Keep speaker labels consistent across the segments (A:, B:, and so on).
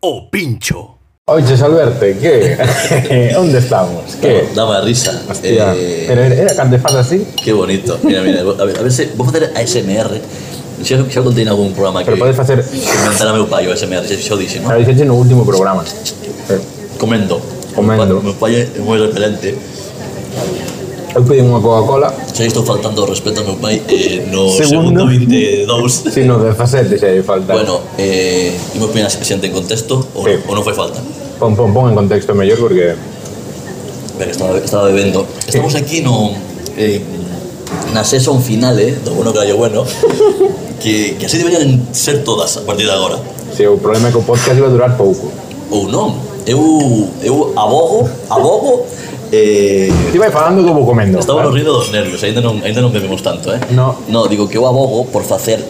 A: o Pincho.
B: Oiches, Alberto, que? onde estamos? Que?
C: Eh, Daba risa.
B: Hostia,
C: Eh,
B: pero era, era cando faz así
C: Qué bonito. Mira, mira, a ver, a ver se, vou facer ASMR. Xa, xa contei en algún programa que...
B: Pero podes facer-
C: Que inventara meu pai o ASMR, xa, xa o dixen,
B: Xa
C: no?
B: dixeche no último programa Eh,
C: Comendo.
B: Comendo.
C: Meu pai é moi repelente.
B: Eu pedi unha Coca-Cola
C: Xa estou faltando ao respeto ao meu pai eh, no
B: Segundo.
C: segundo, 22.
B: Si no, 17 xa lle falta
C: Bueno, eh, imos poñer a xente en contexto ou,
B: Sí.
C: ou non fai falta.
B: pon, pon, pon en contexto mellor porque
C: Mira, que estaba, estaba bebendo. Estamos aquí no eh, na sesión finale do bueno que hallo bueno, que, que así deberían ser todas a partir de agora.
B: se o problema é que o podcast iba a durar pouco
C: Ou non, eu, eu abogo, abogo, eh,
B: Ti vai falando que eu vou comendo
C: estamos no
B: eh?
C: rindo dos nervios, ainda non, ainda non bebemos tanto, eh?
B: No.
C: No, digo que eu abogo por facer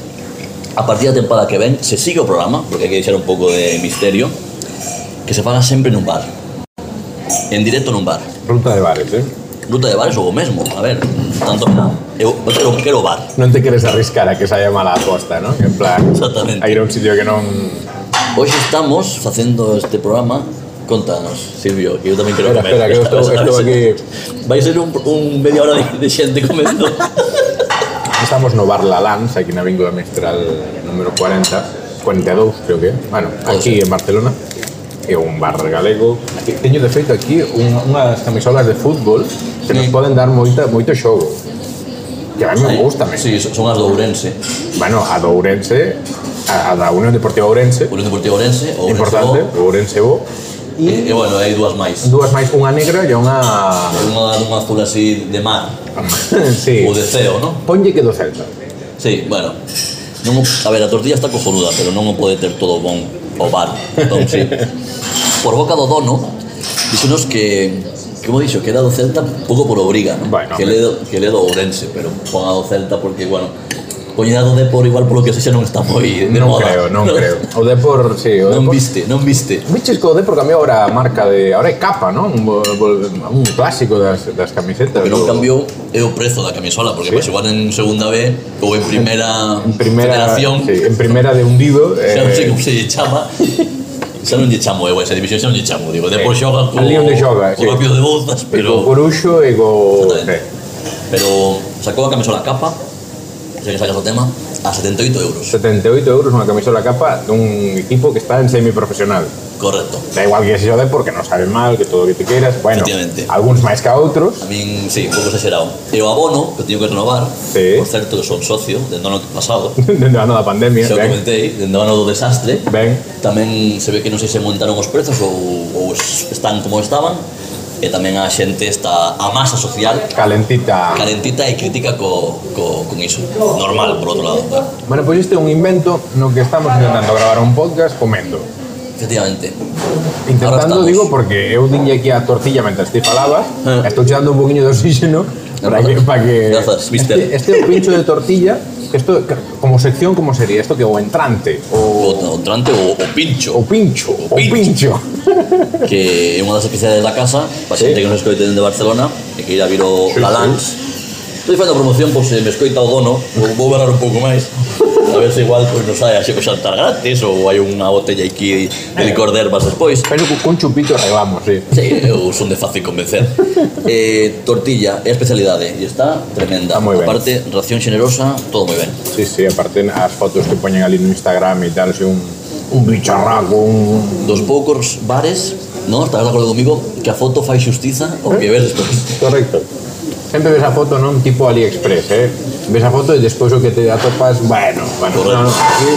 C: a partir da temporada que ven, se sigue o programa, porque hai que deixar un pouco de misterio, que se faga sempre nun bar. En directo nun bar.
B: Ruta de bares, eh?
C: Ruta de bares ou o mesmo, a ver, tanto eu, eu quero, quero bar.
B: Non te queres arriscar a que saia mala a aposta, non? En plan,
C: Exactamente.
B: a ir a un sitio que non...
C: Hoxe estamos facendo este programa Contanos, Silvio, que eu tamén quero
B: Espera,
C: comer.
B: espera, que eu estou, estou aquí...
C: Vai ser un, un media hora de, de xente comendo.
B: Estamos no Bar La Lans, aquí na Víncula Mestral número 40, 42, creo que é. Bueno, aquí en Barcelona. É un bar galego. Teño, de feito, aquí un, unhas camisolas de fútbol que nos poden dar moita, moito xogo. Que a mí me gusta, me.
C: Sí, son as do Ourense.
B: Bueno, a do Ourense, a, a da Unión Deportiva Ourense,
C: Unión Deportiva Ourense, Ourense
B: importante,
C: Bo,
B: o Ourense Bo.
C: E, e bueno, hai dúas máis.
B: Dúas máis, unha negra e unha...
C: Unha dunha azul así de mar,
B: sí.
C: ou de ceo, non?
B: Ponlle que do Celta.
C: Sí, bueno. Non, o- a ver, a tortilla está cojonuda, pero non o pode ter todo bon o bar. Entón, sí. Por boca do dono, dixenos que, como dixo, que era do Celta pouco por obriga, ¿no?
B: Bueno,
C: que, le, do- que le do Ourense, pero pon a do Celta porque, bueno, poñer a do Depor igual polo que sexa non está moi de
B: Non
C: moda.
B: creo, non creo. O Depor, sí, o
C: Non
B: Depor
C: viste, non viste.
B: Biches co Depor cambiou ahora a marca de... Ahora é capa, non? Un, vol- vol- un clásico das, das camisetas.
C: O que non
B: do-
C: cambiou é o prezo da camisola,
B: Sí.
C: porque pois igual en segunda B ou en primeira,
B: En primera,
C: federación
B: sí, en primera de hundido.
C: Xa non sei
B: Eh,
C: como se lle chama Xa non lle chamo eu a esa división, xa non lle chamo Digo, depois
B: Sí.
C: xoga co,
B: Ali onde xoga,
C: co
B: sí.
C: rápido de Bouzas
B: e co
C: Pero,
B: Coruxo e co...
C: Exactamente. pero sacou a camisola capa Xa que sacas o tema A 78 euros,
B: Sí, 78 euros unha camisola capa dun equipo que está en semiprofesional.
C: correcto
B: Da igual que sexa o Depor, que non sabe mal, que todo o que te queiras. Bueno,
C: Efectivamente.
B: algúns máis que a outros.
C: A min, sí, un pouco exagerado E o abono, que teño que renovar
B: Sí.
C: Por certo, que son socio, dende o ano pasado
B: Dentro do ano da pandemia.
C: Xa o
B: Ben,
C: comentei, dende o ano do desastre
B: ben.
C: Tamén se ve que non sei se montaron os prezos ou, ou es- están como estaban E tamén a xente está a masa social
B: Calentita.
C: calentita e crítica co, co, con iso. Normal, por outro lado.
B: Bueno, pois este é un invento no que estamos intentando gravar un podcast comendo.
C: Efectivamente. Ahora
B: Intentando,
C: estamos.
B: digo, porque eu dinlle aquí a tortilla mentras ti falabas,
C: Eh.
B: estou che dando un poquinho de oxígeno para que... Para que
C: Grazas, mister.
B: Este, este é un pincho de tortilla, que esto, como sección, como sería? Esto que o entrante, o,
C: O, o entrante o, o pincho,
B: o pincho, o pincho.
C: pincho. que é unha das especialidades da casa, para
B: Sí.
C: xente que nos escoite dende Barcelona, e que ir a vir o
B: Sí,
C: la
B: sí.
C: Lans. Estou facendo promoción, pois se me escoita o dono, vou- vou berrar un pouco máis. A ver se igual pois, nos sai así o xantar gratis ou hai unha botella aquí de licor de ervas despois.
B: Pero cu- cun chupito arreglamos, sí.
C: Sí, eu son de fácil convencer. Eh, tortilla é a especialidade e está tremenda.
B: Está moi ben.
C: Aparte, ración xenerosa, todo moi ben.
B: Sí, sí, aparte as fotos que poñen ali no Instagram e tal, se un, un bicharraco, un...
C: dos poucos bares, non? Estás de acordo comigo que a foto fai xustiza o que ves despois.
B: Correcto. Sempre ves a foto, non? Tipo AliExpress, eh? Ves a foto e despois o que te atopas, bueno, bueno,
C: Correcto.
B: no, no, aquí,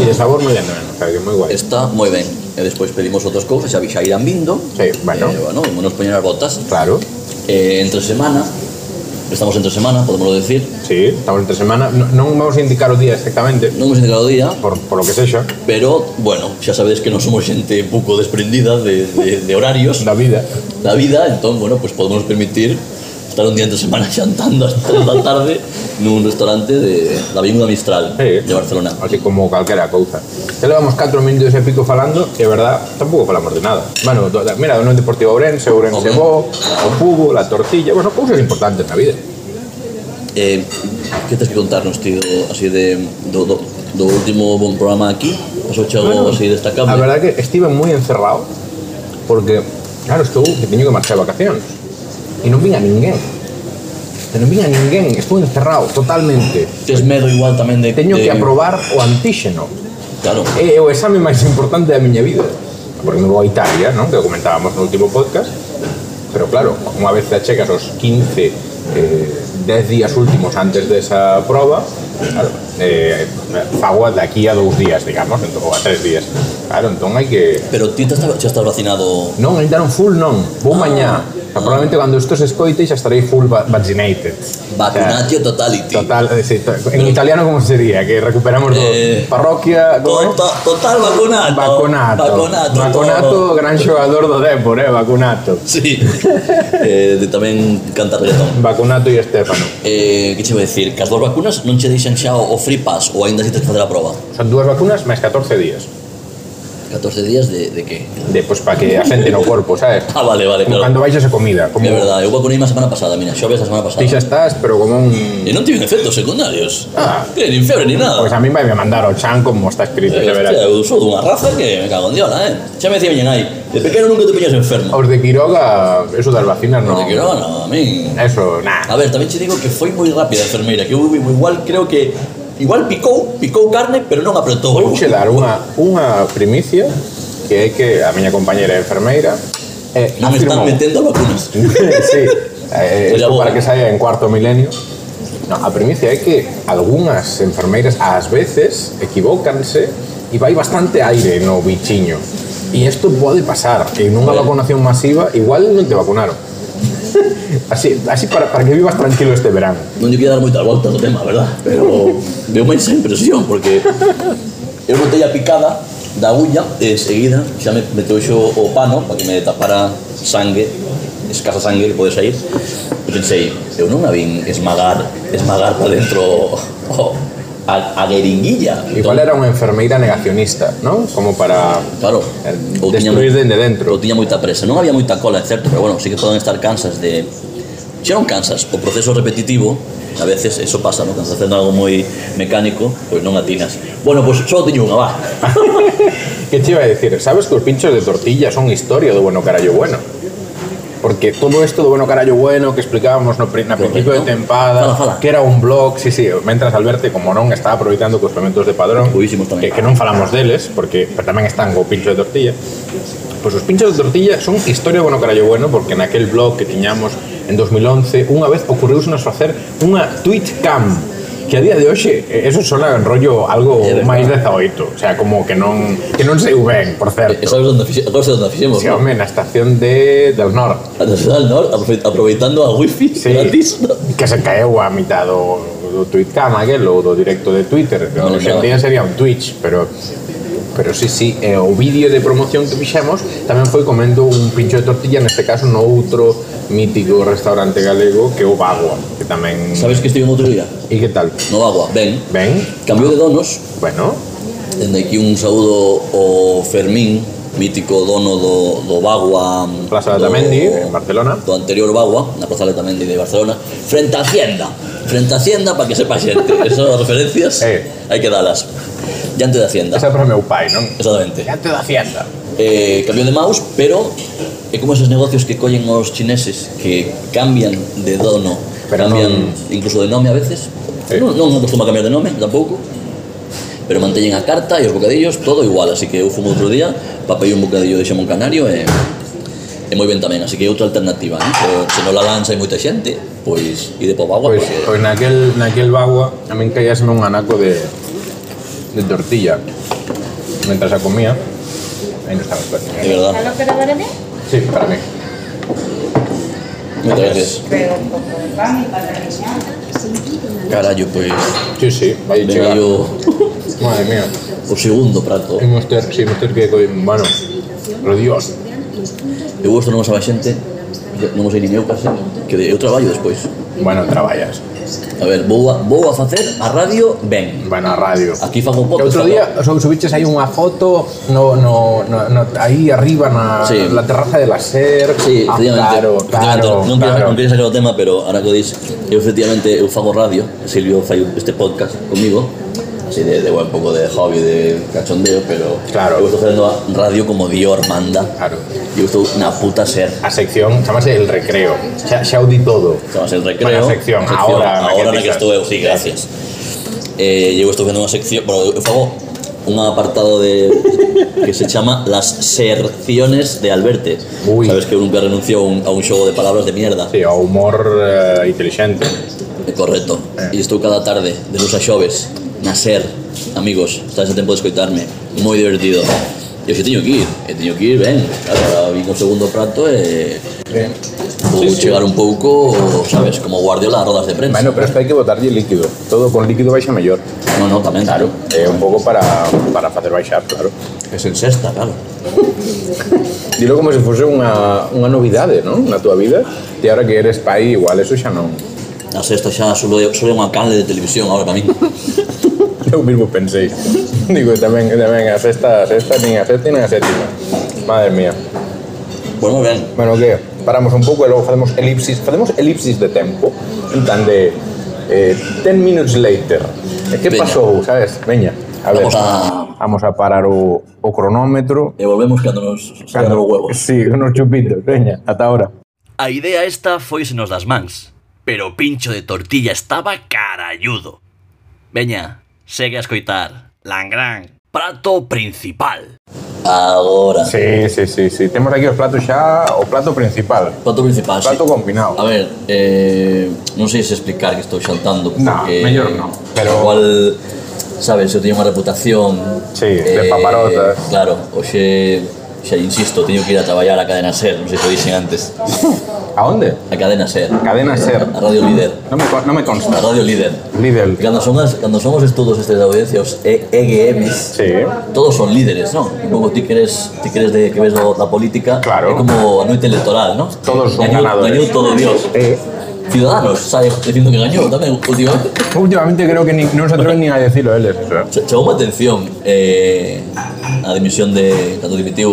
B: e de sabor moi ben, o sea, que moi guai.
C: Está moi ben. E despois pedimos outras cousas, xa, xa irán vindo.
B: Sí, bueno.
C: Eh, bueno, vamos nos poñer as botas.
B: Claro,
C: Eh, entre semana, estamos entre semana, podemoslo decir.
B: sí, estamos entre semana. No- non vamos a indicar o día exactamente,
C: Non hemos indicado o día,
B: por, por lo que sexa,
C: pero, bueno, xa sabedes que non somos xente pouco desprendida de, de, de horarios
B: da vida.
C: da vida, entón, bueno, pues podemos permitir estar un día entre semana xantando hasta da tarde nun restaurante de da Avenida Mistral
B: Sí.
C: de Barcelona.
B: Así como calquera couza. Te levamos 4 minutos e pico falando, e verdad, tampouco falamos de nada. Bueno, do, da- mira, do non Deportivo Ourense, Ourense
C: Home.
B: Bo, o fútbol, a tortilla, bueno, cousas importantes na vida.
C: Eh, que tens que contarnos, tío, así de... Do, do, do último bon programa aquí pasouche algo
B: Bueno,
C: así destacable
B: A verdad que estive moi encerrado porque, claro, estou que teño que marchar de vacacións e non vin a ninguén. E non vin a ninguén, estou encerrado totalmente.
C: tes medo igual tamén de
B: Teño
C: de,
B: que aprobar o antíxeno.
C: claro
B: É o exame máis importante da miña vida. Porque me vou a Italia, non? Que o comentábamos no último podcast. Pero claro, unha vez te achecas os 15, eh, 10 días últimos antes desa prova, claro, eh, fago daqui a dous días, digamos, entón, ou a tres días. Claro, entón hai que...
C: pero ti te estás, xa estás vacinado
B: Non, ainda non full non, vou mañá. O sea, probablemente cando isto se escoite xa estarei full va vaccinated.
C: vacunatio totality
B: Total, é dicir, to- en italiano como sería? Que recuperamos do
C: Eh,
B: parroquia... como é?
C: Total, total vacunato
B: Vaconato.
C: vacunato, todo.
B: Vaconato, gran xogador do Depor, eh, Vaconato.
C: sí eh, de tamén cantar reggaetón
B: Vaconato e Estefano.
C: Eh, que che vou dicir? Que as dúas vacunas non che deixan xa o o free pass ou aínda si tes que facer a proba.
B: Son dúas vacunas máis 14 días.
C: 14 días de, de que?
B: De, pois, para que asenten o corpo, sabes?
C: Ah, vale, vale,
B: Como
C: claro.
B: cando baixas a comida. Como
C: É verdade, eu vacunei a semana pasada, mira, xoves a semana pasada.
B: ti xa estás, pero como un...
C: E non tiven efectos secundarios.
B: Ah.
C: Que nin febre, nin nada.
B: Pois a mí vai me mandar ao chan como está escrito,
C: Eh,
B: xa verás.
C: hostia, eu sou dunha raza que me cago en diola, eh. Xa me dicía miñen aí, de pequeno nunca te peñas enfermo.
B: Os de Quiroga, eso das vacinas, non.
C: De que non, a min...
B: Eso, nah.
C: A ver, tamén che digo que foi moi rápida a enfermeira, que eu igual creo que... Igual picou, picou carne, pero non apretou.
B: Vou che dar unha, unha primicia que é que a miña compañeira é enfermeira eh,
C: Non están
B: afirmou-
C: metendo vacunas.
B: sí, eh,
C: Pois
B: isto
C: a boa.
B: para que saia en cuarto milenio. No, a primicia é que algunhas enfermeiras ás veces equivócanse e vai bastante aire no bichiño. E isto pode pasar. En unha
C: Vale.
B: vacunación masiva igual non te vacunaron. así así para, para que vivas tranquilo este verán.
C: non lle quería dar moitas voltas ao tema, verdad? Pero deu máis esa impresión, porque eu botei a picada da agulla e seguida xa me meteu xo o pano para que me tapara sangue, escasa sangue que pode sair. E pensei, eu non a vin esmagar, esmagar para dentro o- a, a gueringuilla.
B: Igual era unha enfermeira negacionista, non? Como para
C: Claro,
B: eh,
C: ou tiña
B: destruir dende
C: pero
B: dentro.
C: tiña moita presa. Non había moita cola, é certo, pero bueno, sí que poden estar cansas de... Xa non cansas, o proceso repetitivo, a veces eso pasa, non? Cando estás facendo algo moi mecánico, pois non atinas. Bueno, pois só teño unha, va.
B: Que te iba a decir? Sabes que os pinchos de tortilla son historia do bueno carallo bueno. Porque todo esto do bueno carallo bueno que explicábamos no, pri- na principio de
C: Correcto.
B: tempada,
C: Fala, fala.
B: que era un blog, sí, sí, mentras Alberto, como non, está aproveitando cos pementos de padrón,
C: Buísimos tamén.
B: que, que non falamos deles, porque pero tamén están co pincho de tortilla. Pois os pinchos de tortilla son historia do bueno carallo bueno, porque naquel blog que tiñamos en 2011, unha vez ocurriusenos facer unha tweet cam, que a día de hoxe eh, eso sona en rollo algo
C: É verdade.
B: máis 18, o sea, como que non que non sei ben, por
C: E
B: certo.
C: sabes onde fixe, acordaste onde a fixemos,
B: Si,
C: non?
B: home, na estación de del Nord,
C: A Nacional Nord, aprove- aproveitando a wifi
B: Sí.
C: gratis, non?
B: que se caeu a mitad do, do tweetcam aquel, ou do directo de Twitter, que
C: Non
B: hoxe en día
C: lembraba.
B: sería un Twitch, pero pero sí, sí, eh, o vídeo de promoción que fixemos tamén foi comendo un pincho de tortilla, neste caso no outro mítico restaurante galego que é o Bagua, que tamén...
C: Sabes que estive outro día?
B: E que tal?
C: No agua, ben.
B: Ben?
C: Cambiou de donos,
B: Bueno,
C: dende aquí un saúdo ao Fermín, mítico dono do, do Bagua...
B: Plaza
C: do-
B: de Tamendi,
C: Oh.
B: en Barcelona.
C: do anterior Bagua, na Plaza Letamendi de Barcelona, frente a Hacienda. Frente a Hacienda para que sepa xente. Esas referencias
B: Eh.
C: hai que dalas. Diante de Hacienda.
B: Esa é para meu pai, non?
C: Exactamente.
B: Diante da hacienda.
C: Eh, cambiou de mouse, pero é como esos negocios que collen os chineses que cambian de dono,
B: Pero
C: cambian incluso de nome a veces.
B: Eh.
C: Non, non acostuma cambiar de nome, tampouco. Pero mantellen a carta e os bocadillos todo igual, así que eu fumo outro día para pedir un bocadillo de xamón canario e e moi ben tamén, así que é outra alternativa, eh? Pero se non la lanza hai moita xente, pois ide pa o bagua,
B: Pois,
C: porque...
B: pois Pues, naquel, naquel bagua a min caíaseme un anaco de, de tortilla mentras a comía aí non estaba
C: De
B: espera.
C: verdad,
A: ¿Aló, pero para mí?
B: Sí, para mí
C: moitas veces.
A: Creo un poco de pan y para mí ya.
C: Carallo, pois...
B: Sí, sí, vai
C: Ven
B: chegar
C: aí o,
B: Madre mía
C: o segundo prato.
B: E mostrar, sí, mostrar que coi Bueno, lo dios
C: Eu gosto non sabe xente, non o sei nin eu case, que eu traballo despois.
B: Bueno, traballas
C: A ver, vou a, vou a facer a radio ben.
B: Bueno, a radio
C: Aquí fago
B: Que
C: podcast.
B: outro día sub- subiches aí unha foto no, no, no, no, aí arriba na
C: Sí.
B: la terraza de la SER
C: Sí,
B: ah,
C: efectivamente.
B: claro,
C: efectivamente,
B: claro,
C: non, quería, non
B: claro.
C: quería sacar o tema, pero ahora que o dis, eu efectivamente eu fago radio, Silvio fai este podcast comigo, así de, de un poco de hobby, de cachondeo, pero
B: Claro.
C: eu estou facendo a radio como Dios manda.
B: Claro.
C: Eu estou na puta ser.
B: A sección, chamase el recreo. Xa, xa o di todo.
C: Estamos en recreo.
B: Bueno, sección, ahora, na que
C: ahora na que
B: pisas.
C: estou eu, sí, gracias. Eh, eu estou vendo unha sección, bueno, eu fago un apartado de que se chama Las serciones de Alberte.
B: Ui.
C: Sabes que eu nunca renuncio a un, a un xogo de palabras de mierda.
B: Sí, o humor eh, inteligente.
C: Eh, Correcto. E estou cada tarde, de luz a xoves, na ser, amigos, estás a tempo de escoitarme, moi divertido. E hoxe teño que ir, e teño que ir, ben, claro, ahora vin o segundo prato e
B: Sí.
C: vou chegar un pouco, sabes, como guardiola a rodas de prensa.
B: Bueno, pero esto hai que botarlle líquido. Todo con líquido baixa mellor.
C: no, no, tamén, claro.
B: É un pouco para, para facer baixar, claro.
C: Que se encesta, claro.
B: Dilo como se fose unha, unha novidade, non? Na túa vida. E ahora que eres pai, igual eso xa non...
C: A sexta xa solo é, solo é unha canle de televisión agora para mí.
B: Eu mismo pensei. Digo, tamén, tamén a sexta, a sexta, nin a sexta, nin a sétima. Madre mía.
C: Pois moi ben.
B: Bueno, que paramos un pouco e logo facemos elipsis, facemos elipsis de tempo, en plan de eh, 10 minutes later. E que
C: Veña.
B: pasou, sabes? Veña, a ver.
C: Vamos a-
B: Vamos a parar o, o cronómetro.
C: E volvemos cando nos sacan os huevos.
B: Sí, unos chupitos, veña, ata ahora.
C: A idea esta foísenos das mans, pero o pincho de tortilla estaba caralludo. Veña, segue a escoitar. Langrán, prato principal. Agora.
B: Sí, sí, sí, sí. Temos aquí os platos xa, o plato principal.
C: Prato principal,
B: Plato
C: sí.
B: combinado.
C: A ver, eh, non sei se explicar que estou xantando porque...
B: No, mellor non, pero-
C: Igual, sabes, eu teño unha reputación... eh,
B: Sí, de paparotas.
C: Claro, hoxe, xa insisto, teño que ir a traballar a cadena SER, non sei se o dixen antes.
B: Eh. A onde?
C: A cadena SER, a
B: Cadena Ser.
C: Radio Líder,
B: Non me, co- non me consta.
C: a Radio Líder.
B: Lidl.
C: Cando son as, cando son os estudos estes de audiencia, os E- EGMs,
B: Sí.
C: todos son líderes, non? Un pouco ti queres, ti queres de, que ves do- da política,
B: Claro.
C: é como a noite electoral, non?
B: Todos son
C: Gañou-
B: ganadores.
C: Gañou todo Dios.
B: Eh,
C: Ciudadanos, sabe, dicindo que gañou tamén, últimamente.
B: últimamente creo que ni, non se atreven nin a decirlo eles. eso, eh.
C: Ch- Chamoume a atención eh, a dimisión de... Cando dimitiu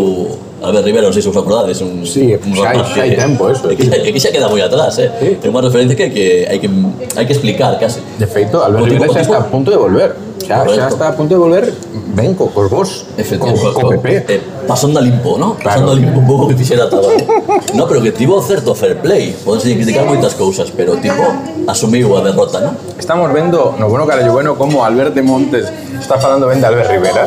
C: Albert Rivera, non sei se os acordades, un,
B: Sí,
C: un
B: xa hai-
C: rapaz
B: xa hai
C: que-
B: tempo eso,
C: é Que, xa- é que xa queda moi atrás, eh?
B: Sí.
C: É unha referencia que, que hai que hai que explicar, case.
B: De feito, Alberto
C: O tipo-
B: Rivera xa
C: o tipo-
B: está a punto de volver. Xa,
C: Correcto.
B: xa está a punto de volver, ven co, cos vos, co,
C: Efectivamente,
B: co PP.
C: eh, pasando a limpo, ¿no? Pasando a limpo un pouco que fixera traballo. no, pero que tivo certo fair play. Podense criticar moitas cousas, pero tipo asumiu a derrota, ¿no?
B: Estamos vendo no bueno carallo bueno como Alberto Montes está falando ben de Albert Rivera,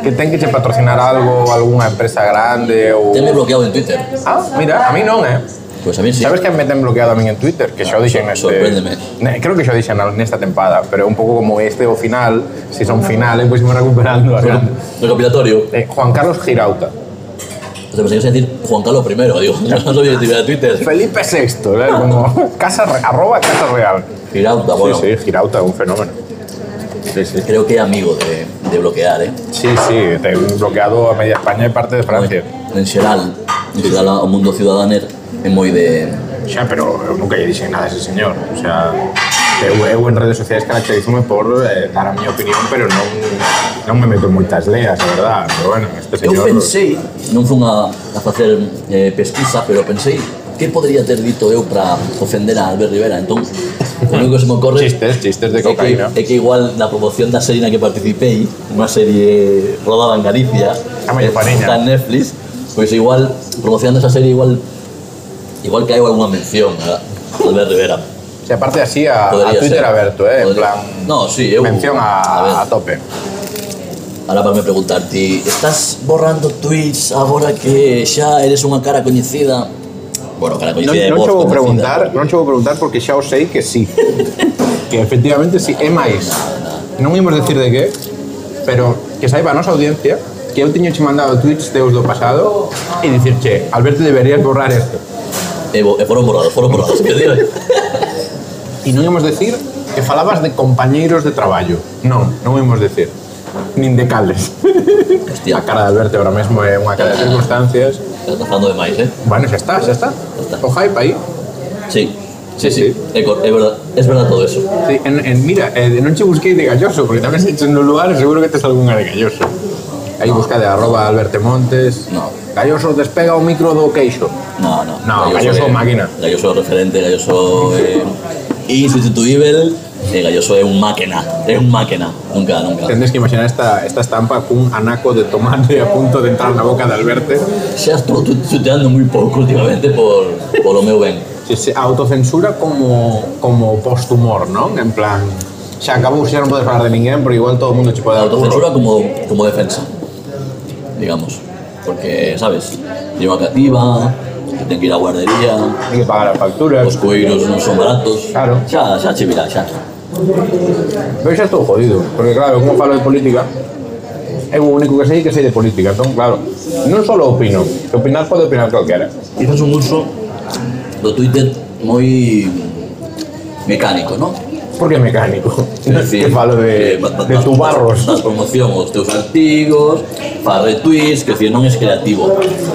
B: que ten que che patrocinar algo, algunha empresa grande ou...
C: Tenme bloqueado en Twitter.
B: Ah, mira, a mí non, eh?
C: Pois a mí sí.
B: Sabes que me ten bloqueado a min en Twitter, que xa o dixen neste...
C: sorpréndeme.
B: Ne- creo que xa o dixen al- nesta tempada, pero un pouco como este o final, se si son finales, pois pues, me recuperando a grande.
C: Recopilatorio.
B: Eh, Juan Carlos Girauta.
C: O sea, pensé que ibas a decir Juan Carlos I, digo, no sabía que tuviera Twitter.
B: Felipe VI, ¿eh? como casa, re- arroba casa real.
C: Girauta, bueno,
B: Sí, sí, Girauta, un fenómeno. Sí, sí.
C: creo que é amigo de, de bloquear, eh?
B: Sí, sí, te he bloqueado a media España y parte de Francia.
C: En xeral, en xeral ao mundo ciudadaner é moi de...
B: Xa, pero eu nunca lle dixen nada a ese señor. O sea, eu, eu en redes sociais caracterízome por eh, dar a miña opinión, pero non, non me meto en moitas leas, a verdad. Pero bueno, este
C: Eu
B: señor...
C: pensei, non fun a, a facer eh, pesquisa, pero pensei que podría ter dito eu para ofender a Albert Rivera. Entón, o único que se me ocorre
B: Chistes, chistes de
C: é que-
B: cocaína.
C: É que igual na promoción da serie na que participei, unha serie rodada en Galicia,
B: A medio
C: eh,
B: fariña.
C: está en Netflix, pois igual promocionando esa serie igual igual caeu algunha mención a Albert Rivera.
B: O sea, aparte así a, a
C: Podría
B: Twitter
C: ser.
B: aberto, eh, en
C: Podría-
B: plan...
C: No, sí, eu-
B: Mención
C: a ver.
B: a, a tope.
C: Ahora para me preguntar ti, estás borrando tweets agora que xa eres unha cara coñecida? Bueno, cara
B: Non,
C: coñecida é
B: non
C: voz
B: che vou
C: coñecida.
B: preguntar, non che vou preguntar porque xa o sei que sí. que efectivamente sí, é máis. Non imos decir de que, pero que saiba a nosa audiencia que eu teño che mandado tweets teus do pasado e dicirche, Alberto, deberías borrar esto.
C: E, bo- e foron borrados, foron borrados, que digo.
B: E non imos decir que falabas de compañeiros de traballo. Non, non imos decir. Nin de cales.
C: Hostia,
B: A cara de Alberto ahora mesmo é unha cara de circunstancias.
C: estás tazando de máis, eh?
B: Bueno, xa está, xa está.
C: está.
B: O hype aí.
C: Sí,
B: Sí,
C: sí, sí.
B: sí.
C: É, cor- é verdad, es verdad todo eso.
B: Sí, en, en, mira, eh, non che busquei de galloso, porque tamén se echen no lugar e seguro que tes algunha de galloso. Aí busca de arroba Alberto Montes.
C: No.
B: Galloso despega o micro do queixo.
C: No, no.
B: No, Galloso máquina.
C: Galloso referente, Galloso eh, insustituível, E Galloso é un máquena, é un máquena, nunca, nunca.
B: Tendes que imaginar esta, esta estampa cun anaco de tomate a punto de entrar na boca de Alberto.
C: Xa estou tu- tuteando moi pouco últimamente por, por o meu ben.
B: Se, se autocensura como, como posthumor, non? En plan, xa acabou, xa non podes falar de ninguén, porque igual todo o mundo che pode dar
C: A
B: burro.
C: autocensura como, como defensa, digamos. Porque, sabes, lleva cativa, que ten que ir á guardería,
B: Hai que pagar as facturas.
C: os coiros non son baratos.
B: Claro.
C: Xa, xa che virá, xa.
B: Pero xa estou jodido, porque claro, como falo de política, é o único que sei que sei de política, entón, claro, non só opino, que opinar pode opinar calquera.
C: Quizás un uso do Twitter moi mecánico, non?
B: Porque é mecánico,
C: É dicir,
B: que falo de,
C: que eh, va- va-
B: de
C: va-
B: tubarros.
C: Das promoción aos teus artigos, faz retweets, que decir, non es creativo.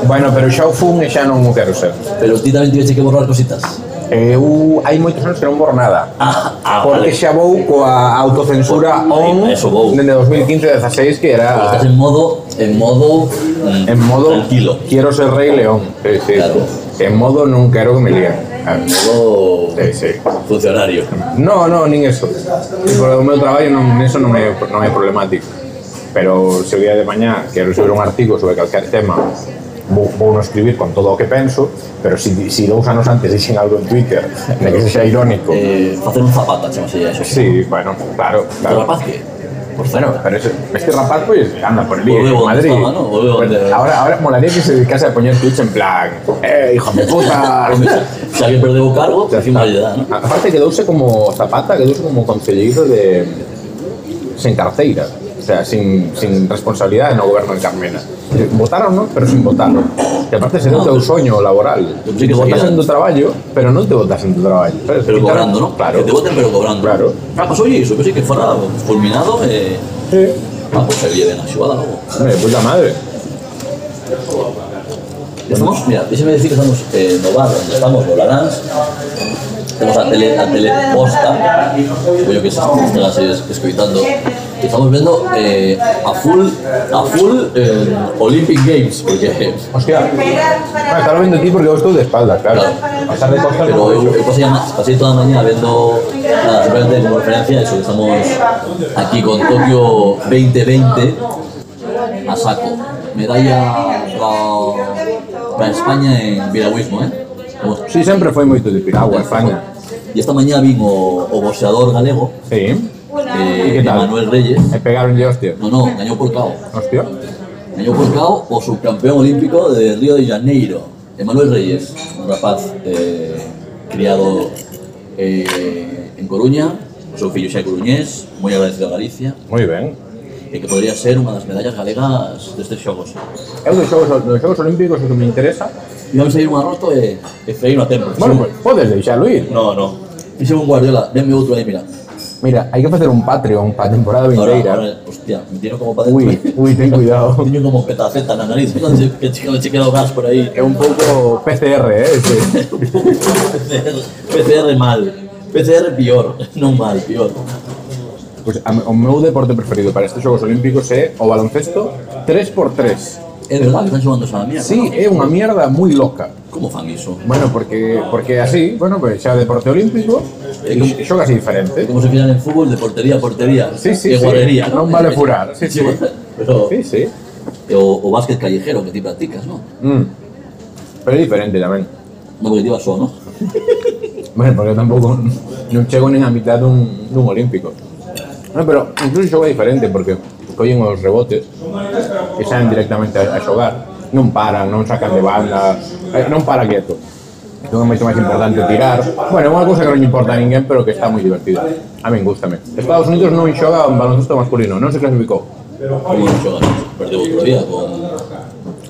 B: Bueno, pero xa o fun e xa non o quero ser.
C: Pero ti tamén tiveste que borrar cositas.
B: Eh, Eu hai moitos anos que non borro nada.
C: Ah, ah,
B: Porque
C: vale.
B: xa vou coa autocensura on
C: Eso vou.
B: dende 2015-16 que
C: Pero
B: era
C: Estás en modo, en modo, mm,
B: en modo
C: tranquilo.
B: quiero ser rei león. Sí, sí.
C: Claro.
B: En modo non quero que me líen. Ah,
C: Modo
B: Sí, sí.
C: funcionario.
B: No, no, nin eso. Por o meu traballo non, eso non é, non é problemático. Pero se o día de mañá quero subir un artigo sobre calquer tema, vou, vou non escribir con todo o que penso, pero si, si dous anos antes dixen algo en Twitter, na que sexa irónico.
C: Eh, facer un zapata, chamase ya eso.
B: Sí, bueno, claro,
C: O
B: claro.
C: rapaz que, por Cerora.
B: Pero ese, este rapaz, pues, anda por el
C: Volvemos
B: en
C: donde
B: Madrid.
C: estaba, ¿no? Volvemos
B: Pues,
C: donde-
B: ahora, ahora molaría que se dedicase a poner tweets en plan, ¡eh, hijo de puta!
C: Se alguén perdeu o cargo, encima lle dá, non?
B: Aparte quedouse como Zapata, quedouse como concelleiro de sen carteira, o sea, sin, sin responsabilidade no goberno en Carmena. Votaron, non? Pero sin votaron. E aparte se deu teu soño laboral.
C: Eu pensei
B: Te
C: que
B: votasen
C: seguía.
B: do traballo, pero non te votasen do traballo. Pero,
C: Pero cobrando, non?
B: Claro.
C: Que te voten pero cobrando.
B: Claro.
C: Ah, pues oye, iso, que sí que fora fulminado e... Eh...
B: Sí.
C: Ah, pues se bien a xogada logo.
B: Hombre, de puta madre.
C: Estamos, mira, déxeme decir que estamos eh, no bar onde estamos, no Laranx. Temos a tele, a teleposta, cuyo que se están escoitando. E Estamos vendo eh, a full, a full eh, Olympic Games, porque... eh,
B: Hostia. Ah, estaba vendo ti porque eu estou de espaldas, claro.
C: Claro.
B: A estar de costas non
C: Pero
B: vexo.
C: eu, eu pasei, a ma- pasei toda a mañá vendo nada, simplemente como referencia eso, que estamos aquí con Tokio 2020 a saco. Medalla para, para España en viragüismo, eh? Vamos.
B: Si, sempre foi moito difícil. Agua, España.
C: E esta mañá vin o, o boxeador galego,
B: Sí. E
C: eh,
B: que tal?
C: Manuel Reyes.
B: E pegaronlle hostia.
C: No, no, gañou por cao.
B: Hostia.
C: Año buscado o subcampeón olímpico de Río de Janeiro, Emanuel Reyes, un rapaz eh, criado eh, en Coruña, o seu fillo xa é coruñés, moi agradecido a Galicia,
B: Moi ben.
C: e que podría ser unha das medallas galegas destes xogos.
B: Eu dos xogos, dos xogos olímpicos o que me interesa
C: Íbamos a ir eh, un arroto e, e freino a tempo.
B: Bueno, pues, podes deixalo ir
C: No, no. Fixe un guardiola, denme outro aí, mira.
B: Mira, hai que facer un Patreon para a temporada
C: Ahora,
B: vindeira
C: ahora, hostia, me tiro como para
B: Ui,
C: dentro.
B: ui, ten cuidado
C: Teño como petaceta na nariz, que chica me chequea o gas por aí.
B: É un pouco PCR, eh? Este.
C: PCR, PCR mal. PCR peor, non mal, peor.
B: Pues, a, o meu deporte preferido para estes xogos olímpicos é o baloncesto 3x3
C: É verdad que están xogando esa mierda.
B: Si, é unha mierda moi loca
C: Como fan iso?
B: Bueno, porque porque así, bueno, pues xa deporte olímpico e xogas
C: É
B: diferente
C: como se fijan en fútbol de portería a portería.
B: Sí, sí,
C: e
B: sí.
C: guardería.
B: Non vale furar, sí, sí.
C: Pero,
B: Sí, sí
C: e o, o básquet callejero que ti practicas, non?
B: mm. Pero é diferente tamén
C: Non porque ti vas só, non?
B: Bueno, porque eu tampouco non chego nin a mitad dun, dun olímpico. No, pero incluso xogo diferente porque collen os rebotes e saen directamente a, a xogar. Non paran, non sacan de banda, eh, non para quieto. Entón é moito máis importante tirar. Bueno, é unha cousa que non lle importa a ninguén, pero que está moi divertida. A min gustame. Estados Unidos non xoga en baloncesto masculino, non se clasificou.
C: Como non xogas? Perdeu outro día con...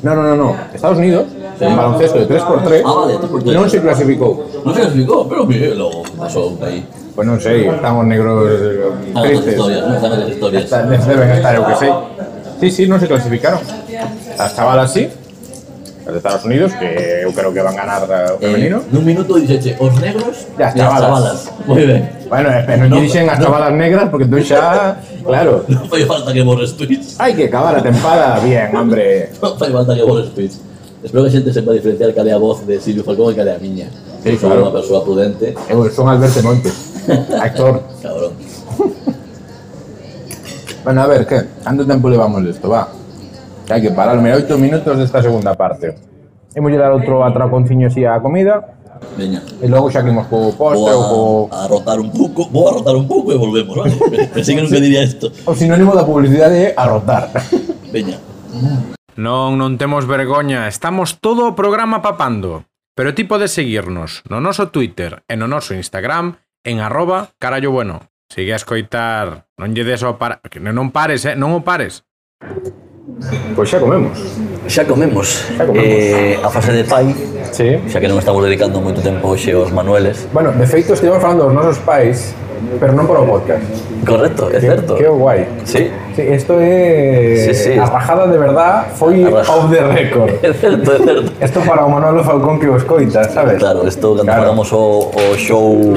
B: No, no, no, no. Estados Unidos, en baloncesto de 3x3,
C: Ah, vale, 3x3.
B: non se clasificou.
C: Non se explicou, pero mire, logo pasou aí.
B: Pois non sei, estamos negros eh,
C: Están outras
B: tristes.
C: historias, non? Están outras historias.
B: Está- deben estar, eu que sei. Sí, sí, non se clasificaron. As chavalas sí, as de Estados Unidos, que eu creo que van ganar o femenino.
C: Eh, nun minuto dixeche os negros
B: E as
C: e as
B: chavalas.
C: chavalas. Moi ben.
B: Bueno, eh, pero non
C: No,
B: dixen as
C: no.
B: chavalas negras, porque entón xa... Claro.
C: Non fai falta que borres tweets.
B: Hai que acabar a tempada bien, hombre.
C: Non fai falta que vos tweets. Espero que a xente sepa diferenciar cal é a voz de Silvio Falcón e cal é a miña.
B: Sí,
C: Eu sou
B: claro.
C: unha persoa prudente.
B: Eu Eh, son Alberto Montes. Actor.
C: Cabrón.
B: Bueno, a ver, ¿qué? ¿Cuánto tiempo llevamos de esto? Va. Que Hay que parar. Mira, 8 minutos de esta segunda parte. Hemos llegado a otro atraconciño así a comida.
C: Veña.
B: Y luego saquemos con
C: Vou
B: postre o co-
C: a, a rotar un pouco, vou a rotar un pouco e volvemos, vale? Pensei que nunca diría isto.
B: O sinónimo da publicidade é arrotar.
C: Veña.
D: Non, non temos vergoña, estamos todo o programa papando. Pero ti podes seguirnos no noso Twitter e no noso Instagram en arroba carallo bueno. Sigue a escoitar, non lle des ao para... que non- non pares, eh? non o pares.
B: Pois xa comemos.
C: Xa comemos,
B: Xa comemos.
C: Eh, a fase de pai,
B: Sí.
C: xa que non estamos dedicando moito tempo hoxe aos manueles.
B: Bueno, de feito estivemos falando dos nosos pais, pero non para o podcast.
C: Correcto, é certo.
B: Que guai.
C: Sí,
B: Sí, isto é
C: Sí, sí.
B: a rajada de verdad foi
C: A raj-
B: off the record.
C: é certo, é certo.
B: Isto para o Manolo Falcón que os coita, sabes?
C: Claro, isto cando
B: Claro.
C: faramos o, o show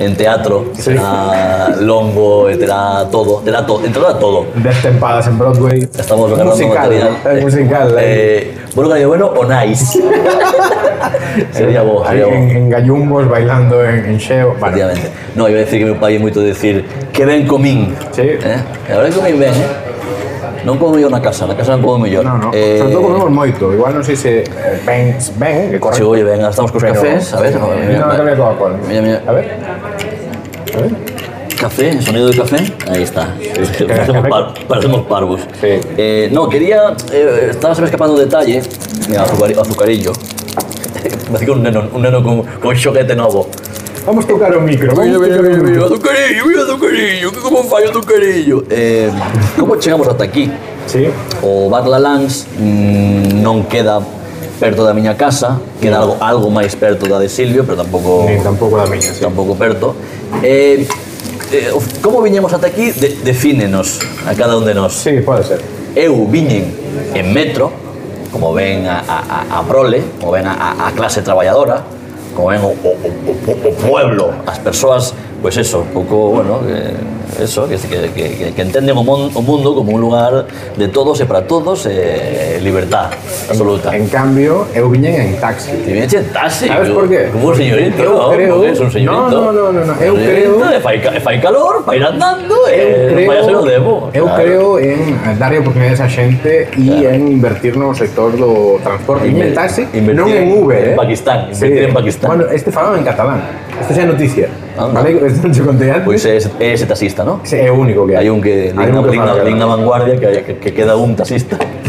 C: en teatro,
B: Sí.
C: será longo, e terá todo, terá todo, entrará todo.
B: Destempadas en Broadway.
C: Estamos grabando
B: musical,
C: material.
B: É musical. Eh,
C: Eh, bueno, Gallo Bueno o Nice. sería bo,
B: Aí
C: sería bo.
B: en, en gallumbos, bailando en, en xeo. Bueno,
C: Efectivamente. No, iba a decir que meu pai é moito de decir que ben comín.
B: Sí.
C: Eh? E Ahora que comín ben, eh? Non como mellor na casa, na casa non como mellor.
B: no, no.
C: Eh,
B: Sobre todo comemos moito. Igual non sei se eh, ben, ben, que
C: Che,
B: correcto.
C: oye, ben, ahora estamos cos
B: pero-
C: cafés, a ver. a ver,
B: No,
C: mira,
B: no cambia Coca-Cola.
C: Mira, mira.
B: A ver. A ver.
C: Café, el sonido del café. Ahí está. parecemos, par- parecemos parvos.
B: Sí.
C: Eh, no, quería. eh, estaba se me escapando un detalle. Mira, azucari- azucarillo. Me hace un neno, un neno con, con xoguete novo.
B: Vamos tocar o micro.
C: Mira,
B: vamos
C: mira,
B: tocar o
C: mira, mira,
B: micro.
C: azucarillo, mira, azucarillo, que como fallo azucarillo. Eh, ¿Cómo llegamos hasta aquí?
B: Sí.
C: O Bar La Lans mm, non queda perto da miña casa, queda algo, algo máis perto da de Silvio, pero tampouco...
B: Ni tampouco da miña, sí.
C: tampouco perto. Eh, eh, como viñemos ata aquí, de, defínenos a cada un de nós.
B: Sí, pode ser.
C: Eu viñen en metro, como ven a, a, a- a prole, como ven a- a, a clase traballadora, como ven o, o, o, o- o pueblo, as persoas, pois pues eso, pouco, bueno, que, eso, que, que, que, que, que entenden o, mon, o mundo como un lugar de todos e para todos, eh, libertad absoluta.
B: En cambio, eu viñen en taxi.
C: Te viña chentase,
B: Sabes por qué?
C: Como un señorito,
B: Eu
C: ¿no?
B: creo-
C: Como que es un señorito.
B: No, no, no, no, no, eu
C: Señorito,
B: creo-
C: E fai, ca- e fai calor, para ir andando,
B: Eu
C: e
B: creo,
C: vai a ser o demo.
B: eu
C: claro.
B: creo en dar oportunidades a xente e
C: Claro.
B: en invertir no sector do transporte en
C: Inver-
B: taxi,
C: invertir
B: non en Uber,
C: en
B: eh?
C: Pakistán, invertir en Pakistán. Ah,
B: Bueno, este falaba en catalán. Esta xa é noticia.
C: Anda.
B: Vale, isto non che contei antes.
C: Pois é, ese- é Pues ese taxista, ¿no?
B: Ese é o único que hai.
C: Hai un que
B: Hai
C: digna,
B: un que
C: digna,
B: fala
C: digna
B: catalán.
C: vanguardia que, que, que queda un taxista.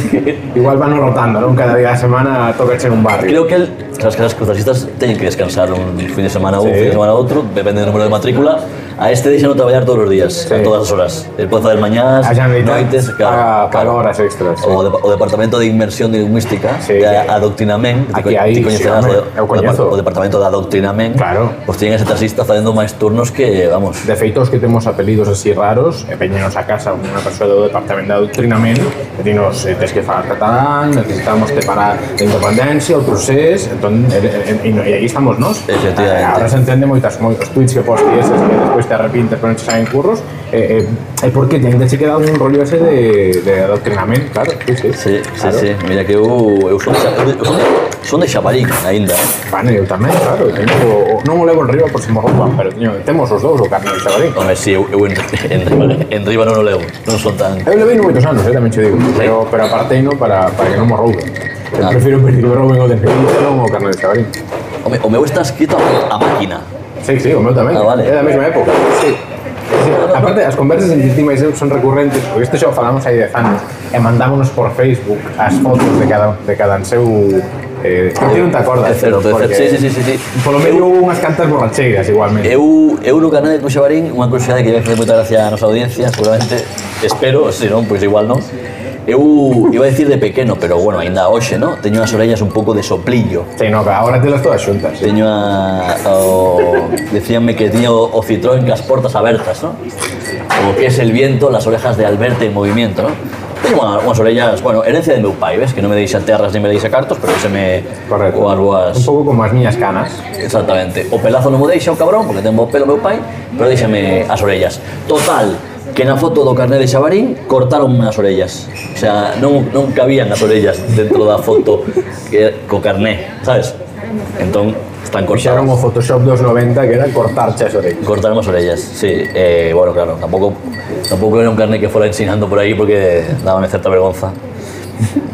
B: Igual van rotando, non? Cada día da semana tocache en un barrio.
C: Creo que el, sabes que los taxistas tienen que descansar un fin de semana un
B: Sí.
C: fin de semana otro, depende del número de matrícula. A este deixan trabajar todos los días, a todas las horas. El puesto del mañana,
B: A Xanlita
C: noites,
B: paga, paga horas extras. sí.
C: O, de, o Departamento de Inmersión Lingüística
B: Sí.
C: de Adoctrinamento
B: Aquí hai,
C: ti coñecerás
B: sí, home,
C: o, de-
B: eu
C: o, depar-
B: coñezo.
C: o Departamento de Adoctrinamento
B: Claro.
C: Pois tiñen ese taxista facendo máis turnos que, vamos
B: De feito, os que temos apelidos así raros, e veñenos a casa unha persoa do departamento de adoctrinamento e dinos, eh, tes que falar catalán, necesitamos te para a independencia, o procés, entón, e, e, e, e aí estamos nós.
C: Efectivamente.
B: Ahora se entende moitas, moitos tweets que postes eses que despois te arrepintes pero non se saben curros, e, e, e porque te ainda se queda un rollo ese de, de adoctrinamento, claro, sí, sí.
C: Sí, sí,
B: claro.
C: sí, mira que uh, eu, eu son, de, Xa- eu son, de, son de Xabarín ainda eh.
B: Bueno, eu tamén, claro, eu teño, o- o- non o levo en riba por se me rouban, pero teño, temos os dous o carne de xabarín.
C: Home, si, eu, eu en, en, en Riba non o levo Non son tan...
B: Eu levei moitos anos, eh, tamén che digo, pero, pero apartei no para, para que non me rouben. Eu
C: Claro.
B: prefiro que me rouben o de Felipe non o carne de Xabarín.
C: Home, o meu está escrito a, a máquina
B: Sí, sí, o meu tamén.
C: Ah, vale.
B: É da mesma época. Sí. Sí, Aparte, as conversas entre ti e eu son recurrentes, porque isto xa o falamos hai 10 anos, e Eh, mandámonos por Facebook as fotos de cada, de cada seu... Eh, non ti non te acordas,
C: É certo,
B: pero
C: é certo.
B: porque...
C: Sí, sí, sí, sí, sí. Eh.
B: Polo medio houve unhas cantas borracheiras, igualmente.
C: Eu, eu no canal de Xabarín, unha curiosidade que vai facer moita gracia a nosa audiencia, seguramente, espero, se non, pois igual non. Eu iba a decir de pequeno, pero bueno, ainda hoxe, ¿no? Teño as orellas un pouco de soplillo.
B: Sí, no, que agora telas todas xuntas. Sí.
C: Teño a, o, decíanme que tiña o, o Citroën cas portas abertas, ¿no? Como que es el viento, las orejas de Alberto en movimiento, ¿no? Teño unha, unhas orellas, bueno, herencia de meu pai, ves? Que non me deixa terras ni me deixa cartos, pero se me...
B: Correcto.
C: Coas boas...
B: Un pouco como as miñas canas.
C: Exactamente. O pelazo non mo deixa o cabrón, porque ten bo pelo meu pai, pero déixame as orellas. Total, que na foto do carné de Xabarín cortaron as orellas. O sea, non, non cabían as orellas dentro da foto que, co carné, sabes? Entón, Están
B: Fixaron o
C: cortadas.
B: Photoshop dos 90 que era cortar chas orellas.
C: Cortaron las orellas, sí. Eh, bueno, claro, tampoco, tampoco era un carnet que fuera ensinando por ahí porque dábame certa vergonza.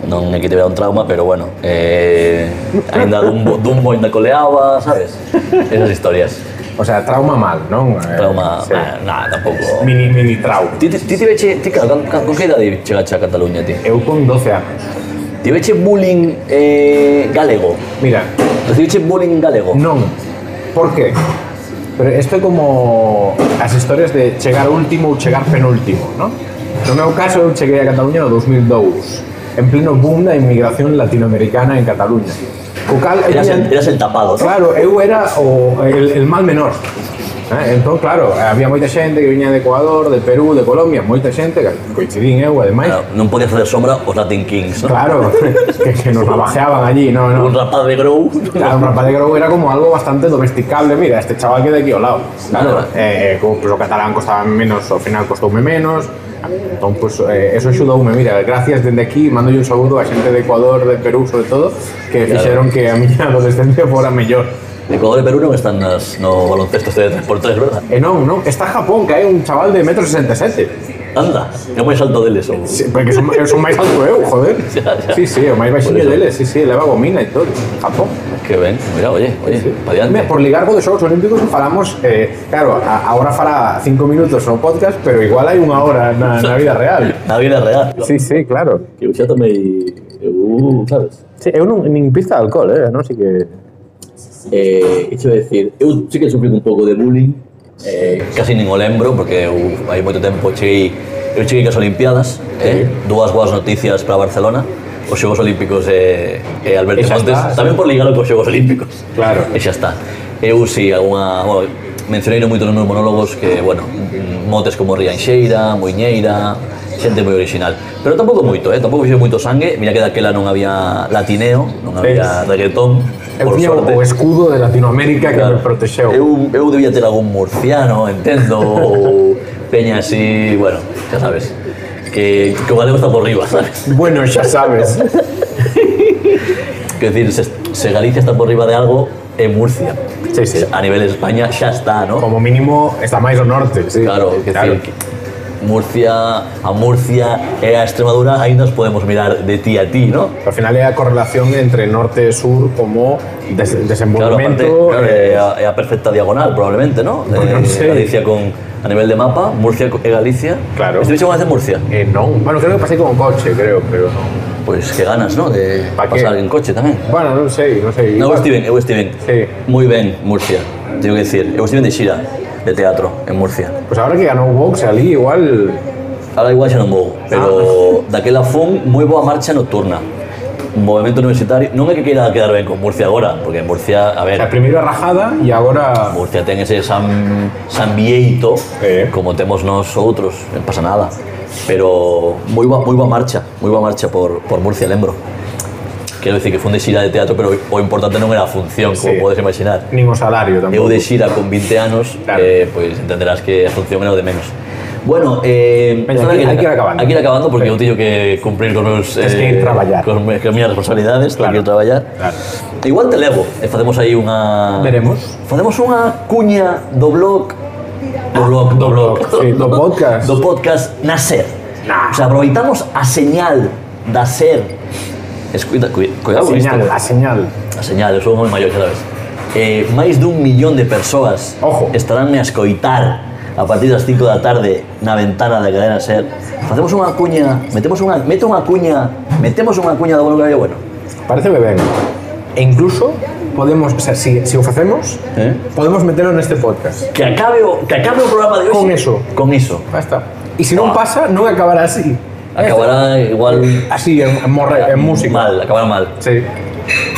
C: Non é que tivera un trauma, pero bueno, eh, ainda dun, bo- dun boi na coleaba, sabes? Esas historias.
B: O sea, trauma mal, non? Eh,
C: Trauma,
B: sí.
C: eh, nada, tampouco.
B: Mini, mini trauma.
C: Ti, ti, ti tiveche, ti, claro, con, con que idade chegache a Cataluña, ti?
B: Eu con 12 anos.
C: Tiveche bullying eh, galego.
B: Mira,
C: Tiveche bullying galego.
B: non. Por qué? Pero isto é como as historias de chegar último ou chegar penúltimo, non? No meu caso, eu cheguei a Cataluña no 2002, en pleno boom da inmigración latinoamericana en Cataluña. Co cal, eu
C: Eras,
B: tiña-
C: el, eras el tapado, ¿no?
B: Claro, eu era o, el, el mal menor. Eh? Entón, claro, había moita xente que viña de Ecuador, de Perú, de Colombia, moita xente, que coincidín eu, ademais.
C: Claro, non podía facer sombra os Latin Kings, ¿no?
B: Claro, que, que nos navajeaban allí, no,
C: Un
B: no.
C: rapaz de Grow.
B: Claro, un rapaz de Grou era como algo bastante domesticable. Mira, este chaval que de aquí ao lado. Claro,
C: Nada.
B: eh, eh, como pues, o catalán costaba menos, ao final costoume menos. Entón, pues, eh, eso axudoume. Mira, gracias dende aquí, mando un saúdo a xente de Ecuador, de Perú, sobre todo, que fixeron que a miña adolescencia fora mellor.
C: Ecuador e Perú non están nas, no baloncesto este de 3x3, verdad?
B: E non, non, Eh, está Japón, que hai un chaval de 1,67m.
C: Anda, é moi salto deles ou...
B: Sí, porque son, eu son máis alto eu, joder.
C: Ya, ya.
B: Sí, sí, o máis baixinho
C: Por eso.
B: dele, sí, sí, leva gomina e todo. Japón.
C: Que ben, mira, oye, oye, pa diante.
B: Mira, por ligar co dos Xogos Olímpicos falamos, eh, claro, a, ahora fará cinco minutos no podcast, pero igual hai unha hora na, na vida real.
C: Na vida real.
B: Sí, sí, claro.
C: Que eu xa tomei... Eu, Uh, sabes?
B: Sí, eu non, nin pista de alcohol, eh, non? Si que...
C: Eh, isto é dicir, eu sí que sufrí un pouco de bullying, eh, casi nin o lembro, porque eu hai moito tempo cheguei, eu cheguei que as Olimpiadas, eh, dúas boas noticias para Barcelona, os Xogos Olímpicos e, e
B: E
C: Alberto
B: xa
C: Montes,
B: está,
C: tamén por ligalo cos Xogos Olímpicos.
B: Claro.
C: E xa está. Eu si alguna, bueno, mencionei moito nos meus monólogos que, bueno, motes como Rianxeira, Muiñeira, xente moi original. Pero tampouco moito, eh? tampouco fixe moito sangue, mira que daquela non había latineo, non
B: Sí.
C: había reggaetón,
B: Eu
C: por
B: tiña
C: sorte.
B: o escudo de Latinoamérica que me
C: Claro.
B: protexeu.
C: Eu, eu debía ter algún murciano, entendo, ou peña así, bueno, xa sabes, que, que o galego está por riba, sabes?
B: Bueno, xa sabes.
C: Que decir, se, se Galicia está por riba de algo, é Murcia.
B: Sí, sí.
C: A nivel de España xa está, ¿no?
B: Como mínimo está máis ao norte, sí.
C: Claro, que decir, que Murcia, a Murcia e a Extremadura aínda nos podemos mirar de ti a ti, ¿no?
B: Al final é a correlación entre norte e sur como des
C: Claro, aparte,
B: desenvolvemento
C: claro,
B: eh,
C: é a, é a perfecta diagonal, probablemente, ¿no? Eh,
B: non sei.
C: Galicia con, a nivel de mapa, Murcia e Galicia.
B: Claro.
C: Estive chegando a hacer Murcia.
B: eh, non, bueno, creo que pasei con coche, creo, pero non.
C: Pois que Pues ganas, ¿no? De
B: Pa
C: pasar
B: qué?
C: en coche tamén.
B: Bueno, non sei, non sei.
C: No, eu
B: igual.
C: estive ben, eu estive ben.
B: Sí.
C: Moi ben, Murcia. Tengo que decir, eu estive ben de xira de teatro en Murcia.
B: Pues ahora que ganou Vox ali igual
C: Ahora igual xa non vou,
B: Ah.
C: pero daquela fun moi boa marcha nocturna. Movimento universitario, non é que queira quedar ben con Murcia agora, porque en Murcia, a ver,
B: a primeira rajada e agora
C: Murcia ten ese san, san vieito
B: Eh.
C: como temos nós outros, non pasa nada. Pero moi boa, moi boa marcha, moi boa marcha por, por Murcia, lembro. Quero dicir que fun de xira de teatro, pero o importante non era a función, como
B: Sí.
C: podes imaginar.
B: nin o salario
C: Eu
B: tampouco.
C: de xira con 20 anos,
B: Claro.
C: eh, pois entenderás que a función era o de menos. Bueno, eh,
B: Veña,
C: nada,
B: aquí- hai que ir acabando.
C: Hai que ir acabando porque
B: Sí.
C: eu teño que cumprir con os... eh,
B: Tes que ir traballar.
C: Con, me- con minhas responsabilidades, claro. que ir traballar.
B: Claro.
C: Igual te levo e facemos aí unha...
B: Veremos.
C: Facemos unha cuña do blog... Do blog, do blog.
B: sí, do podcast.
C: Do podcast na SER. O sea, aproveitamos a señal da SER. Escuita, cu-
B: A
C: cuidado con isto.
B: señal, a señal.
C: A señal, eu sou moi maior cada vez. Eh, máis dun millón de persoas
B: Ojo.
C: estarán a escoitar a partir das 5 da tarde na ventana da cadena SER. Facemos unha cuña, metemos unha, meto unha cuña, metemos unha cuña do bueno, que bueno.
B: Pareceme ben. E incluso podemos, o sea, si, si o facemos,
C: Eh?
B: podemos metelo neste podcast.
C: Que acabe o, que acabe o programa de hoxe
B: Con eso.
C: Con iso.
B: Basta. E se non pasa, non acabará así.
C: Acabará igual
B: Así, en, en, morre, en música.
C: mal, acabará mal.
B: Sí,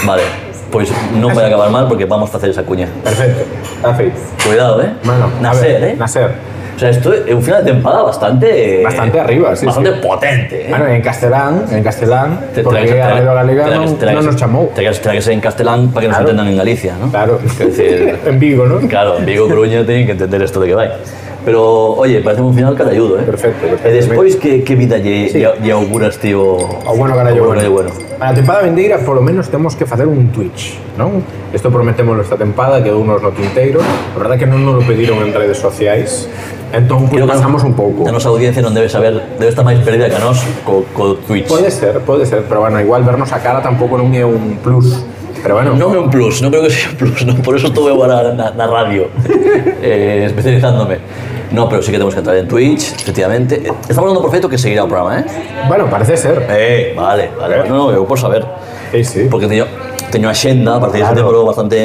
C: Vale, Pues pois non vai acabar mal porque vamos facer esa cuña.
B: perfecto. Está feito.
C: Cuidado, eh?
B: Bueno, a
C: Nacer,
B: ver,
C: eh?
B: Nacer.
C: O sea, isto é un final de temporada bastante...
B: Bastante arriba, sí,
C: Bastante potente, eh?
B: Bueno, en castelán, en castelán, porque a Redo Galega non, non nos chamou.
C: Terá que, terá que ser en castelán para que nos
B: Claro.
C: entendan en Galicia, ¿no?
B: Claro,
C: decir-
B: en Vigo, non?
C: Claro, en Vigo Coruña teñen que entender esto de que vai. Pero, oye, parece un final carayudo, eh?
B: Perfecto, perfecto.
C: E despois, que, que vida lle,
B: Sí.
C: lle, lle auguras, tío?
B: O Ah, bueno, carallo,
C: ao
B: bueno.
C: carallo bueno.
B: Para a tempada vindeira, polo menos, temos que facer un Twitch, non? Isto prometémoslo esta tempada, quedou nos no tinteiro. A verdade é que non nos lo pediron en redes sociais. Entón, pues,
C: Creo que
B: pasamos un pouco.
C: A nosa audiencia non debe saber, debe estar máis perdida que a nós co, co Twitch.
B: Pode ser, pode ser, pero bueno, igual vernos a cara tampouco non é un plus. Pero bueno,
C: Non é un plus, non creo que sea un plus, non. por eso estou eu agora na, na radio, eh, especializándome. No, pero sí que temos que entrar en Twitch, efectivamente. Eh, Estamos dando por feito que seguirá o programa, eh?
B: bueno, parece ser.
C: Eh, vale, vale.
B: Eh.
C: No, eu por saber.
B: Sí, sí.
C: Eh, Porque teño, teño axenda, a partir deste
B: Claro.
C: temporada bastante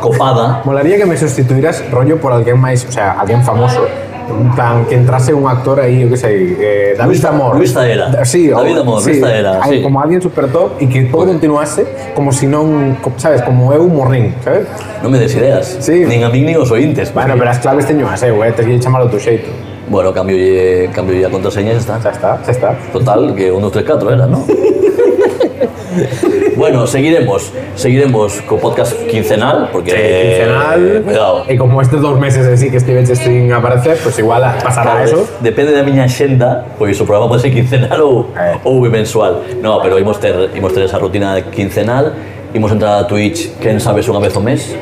C: copada.
B: Molaría que me sustituiras rollo por alguén máis, o sea, alguén famoso. En Plan, que entrase un actor aí, eu que sei, eh, David
C: Luis-
B: Amor.
C: Luis Zaera.
B: Sí, o-
C: David Amor, Luis Zaera,
B: Ay,
C: sí.
B: Como alguén super top e que todo continuase como se si non, co- sabes, como eu morrín, sabes?
C: Non me des ideas.
B: Sí.
C: Nin a min nin aos ointes.
B: Bueno, pero as claves teño as eu, eh, te que chamar do teu xeito.
C: Bueno, cambio lle, cambio lle a contraseña e xa está.
B: Xa está, xa está.
C: Total, que un, dos, tres, catro era, ¿no? bueno, seguiremos, seguiremos co podcast quincenal, porque...
B: Eh, quincenal. Ah,
C: cuidado.
B: E como estes dous meses así que estiveches sin aparecer, pois pues igual pasará
C: Claro,
B: eso.
C: de- depende da miña xenda, pois o programa pode ser quincenal ou,
B: Eh.
C: ou bimensual. No, pero imos ter, imos ter esa rutina quincenal, imos entrar a Twitch, quen sabes unha vez o mes,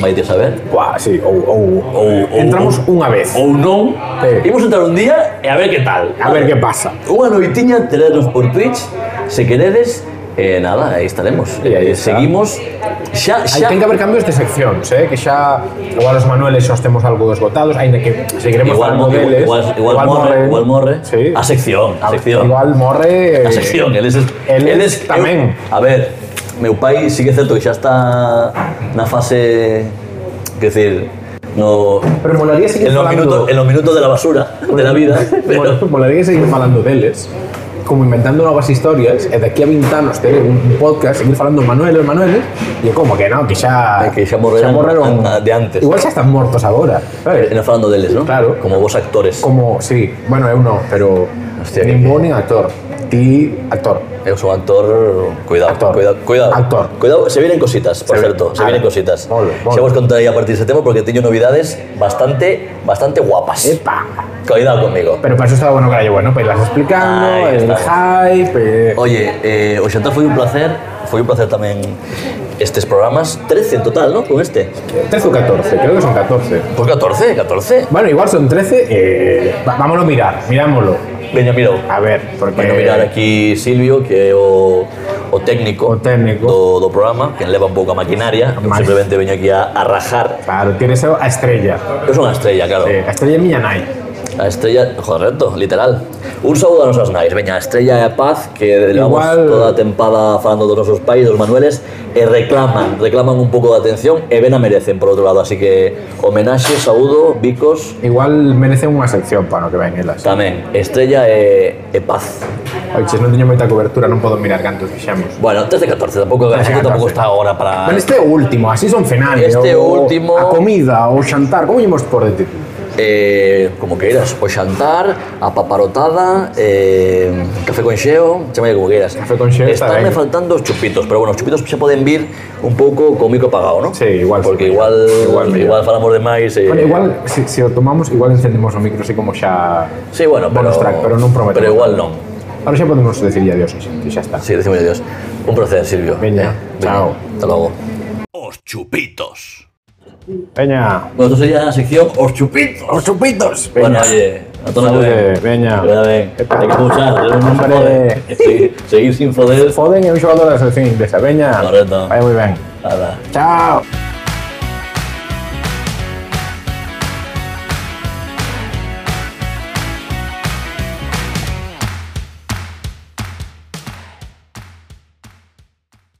C: vai te saber.
B: Buah, sí, ou, ou,
C: Ou, ou,
B: entramos
C: ou,
B: unha vez.
C: Ou non,
B: Sí.
C: imos entrar un día e a ver que tal.
B: A ver que pasa.
C: Unha noitiña tenernos por Twitch, se queredes, eh, nada, aí estaremos.
B: E aí
C: Eh,
B: está.
C: seguimos xa
B: Aí
C: xa
B: ten que haber cambios de seccións, eh? que xa igual os Manueles os temos algo esgotados, aínda que seguiremos
C: igual,
B: falando
C: mo-
B: deles.
C: igual, igual, morre, igual morre.
B: Sí.
C: A sección, a sección.
B: Igual morre... eh,
C: A sección, eles, es,
B: eles tamén.
C: Eu, a ver, meu pai sí que é certo que xa está na fase, que decir, no,
B: Pero molaría seguir
C: en los,
B: falando...
C: minutos, en los minutos de la basura, de la vida, pero,
B: Mol- Molaría seguir falando deles, como inventando novas historias, e daqui a 20 anos ter un podcast, seguir falando Manueles, Manueles, e é como que non, que xa...
C: Eh, que xa morreron an- de antes.
B: Igual xa están mortos agora, sabes?
C: en falando deles, ¿no?
B: Claro.
C: Como vos actores.
B: Como, sí, bueno, eu non, pero
C: Hostia,
B: nin
C: que-
B: bo nin actor. Ti, actor.
C: Eu sou actor, cuidado,
B: Actor.
C: cuidado, cuidado.
B: Actor.
C: Cuidado, se vienen cositas, por
B: Se vienen.
C: certo, se
B: Ah,
C: vienen cositas.
B: molo, molo.
C: Xa vos contarei a partir de tema porque teño novidades bastante bastante guapas.
B: Epa.
C: Cuidado conmigo.
B: Pero para eso estaba bueno carallo bueno, pues las explicando,
C: Ahí
B: el
C: estamos.
B: hype, eh,
C: Oye, eh, o xantar foi un placer, foi un placer tamén estes programas, 13 en total, ¿no? Con este.
B: 13 o 14, creo que son 14.
C: Pois 14, 14.
B: Bueno, igual son 13, eh, va- vámonos a mirar, mirámoslo.
C: Veña, mirou.
B: A ver, porque...
C: Bueno, mirar eh. aquí Silvio, que é o, o técnico,
B: O técnico.
C: Do, do programa, que leva un pouco a maquinaria, Eu
B: Maquin-
C: simplemente veño aquí a, a rajar.
B: Claro, tienes a estrella.
C: Eu son a estrella, claro.
B: Eh, a estrella Millanay.
C: A estrella, correcto, literal. Un saúdo a nosas nais, veña, a estrella e a paz que levamos
B: Igual-
C: toda a tempada falando dos nosos pais, dos manueles, e reclaman, reclaman un pouco de atención e ben a merecen por outro lado, así que homenaxe, saúdo, bicos,
B: Igual merece unha sección para no que ven elas.
C: tamén, estrella e, e paz.
B: Oiches, non teño moita cobertura, non podo mirar cantos fixemos.
C: Bueno, 13-14, tampouco, a xente
B: 13-14.
C: tampouco está agora para...
B: Pero este é o último, así son finales.
C: Este
B: o-
C: último-
B: A comida, o xantar, como ímos por de título?
C: Eh, como queiras, o xantar, a paparotada, eh, café con xeo, chamalle como queiras.
B: Café con xeo está
C: Estarme
B: ben.
C: faltando os chupitos, pero bueno, os chupitos xa poden vir un pouco co micro pagado, non?
B: Sí, igual
C: Porque
B: sí.
C: igual,
B: Igual mellor.
C: igual, falamos de máis... Eh,
B: Bueno, igual, se, se o tomamos, igual encendemos o micro así como xa...
C: Sí, bueno, pero...
B: bonus track, pero non prometemos.
C: Pero igual non.
B: Ahora xa podemos decir adiós, xente, xa está.
C: Sí, decimos adiós. Un placer, Silvio. Eh,
B: Veña, chao.
C: Hasta logo. Os chupitos.
B: Veña,
C: Bueno, esto sería a sección Os chupitos.
B: os chupitos,
C: Bueno,
B: veña.
C: oye, a todos
B: Saúde,
C: ben.
B: veña.
C: Cuidado ben. Hay que escuchar, non se
B: Hombre.
C: pode. Seguir- Seguir sin foder.
B: Foden é un xogador da selección inglesa, veña.
C: Correcto.
B: Vai moi ben.
C: Nada.
B: Chao.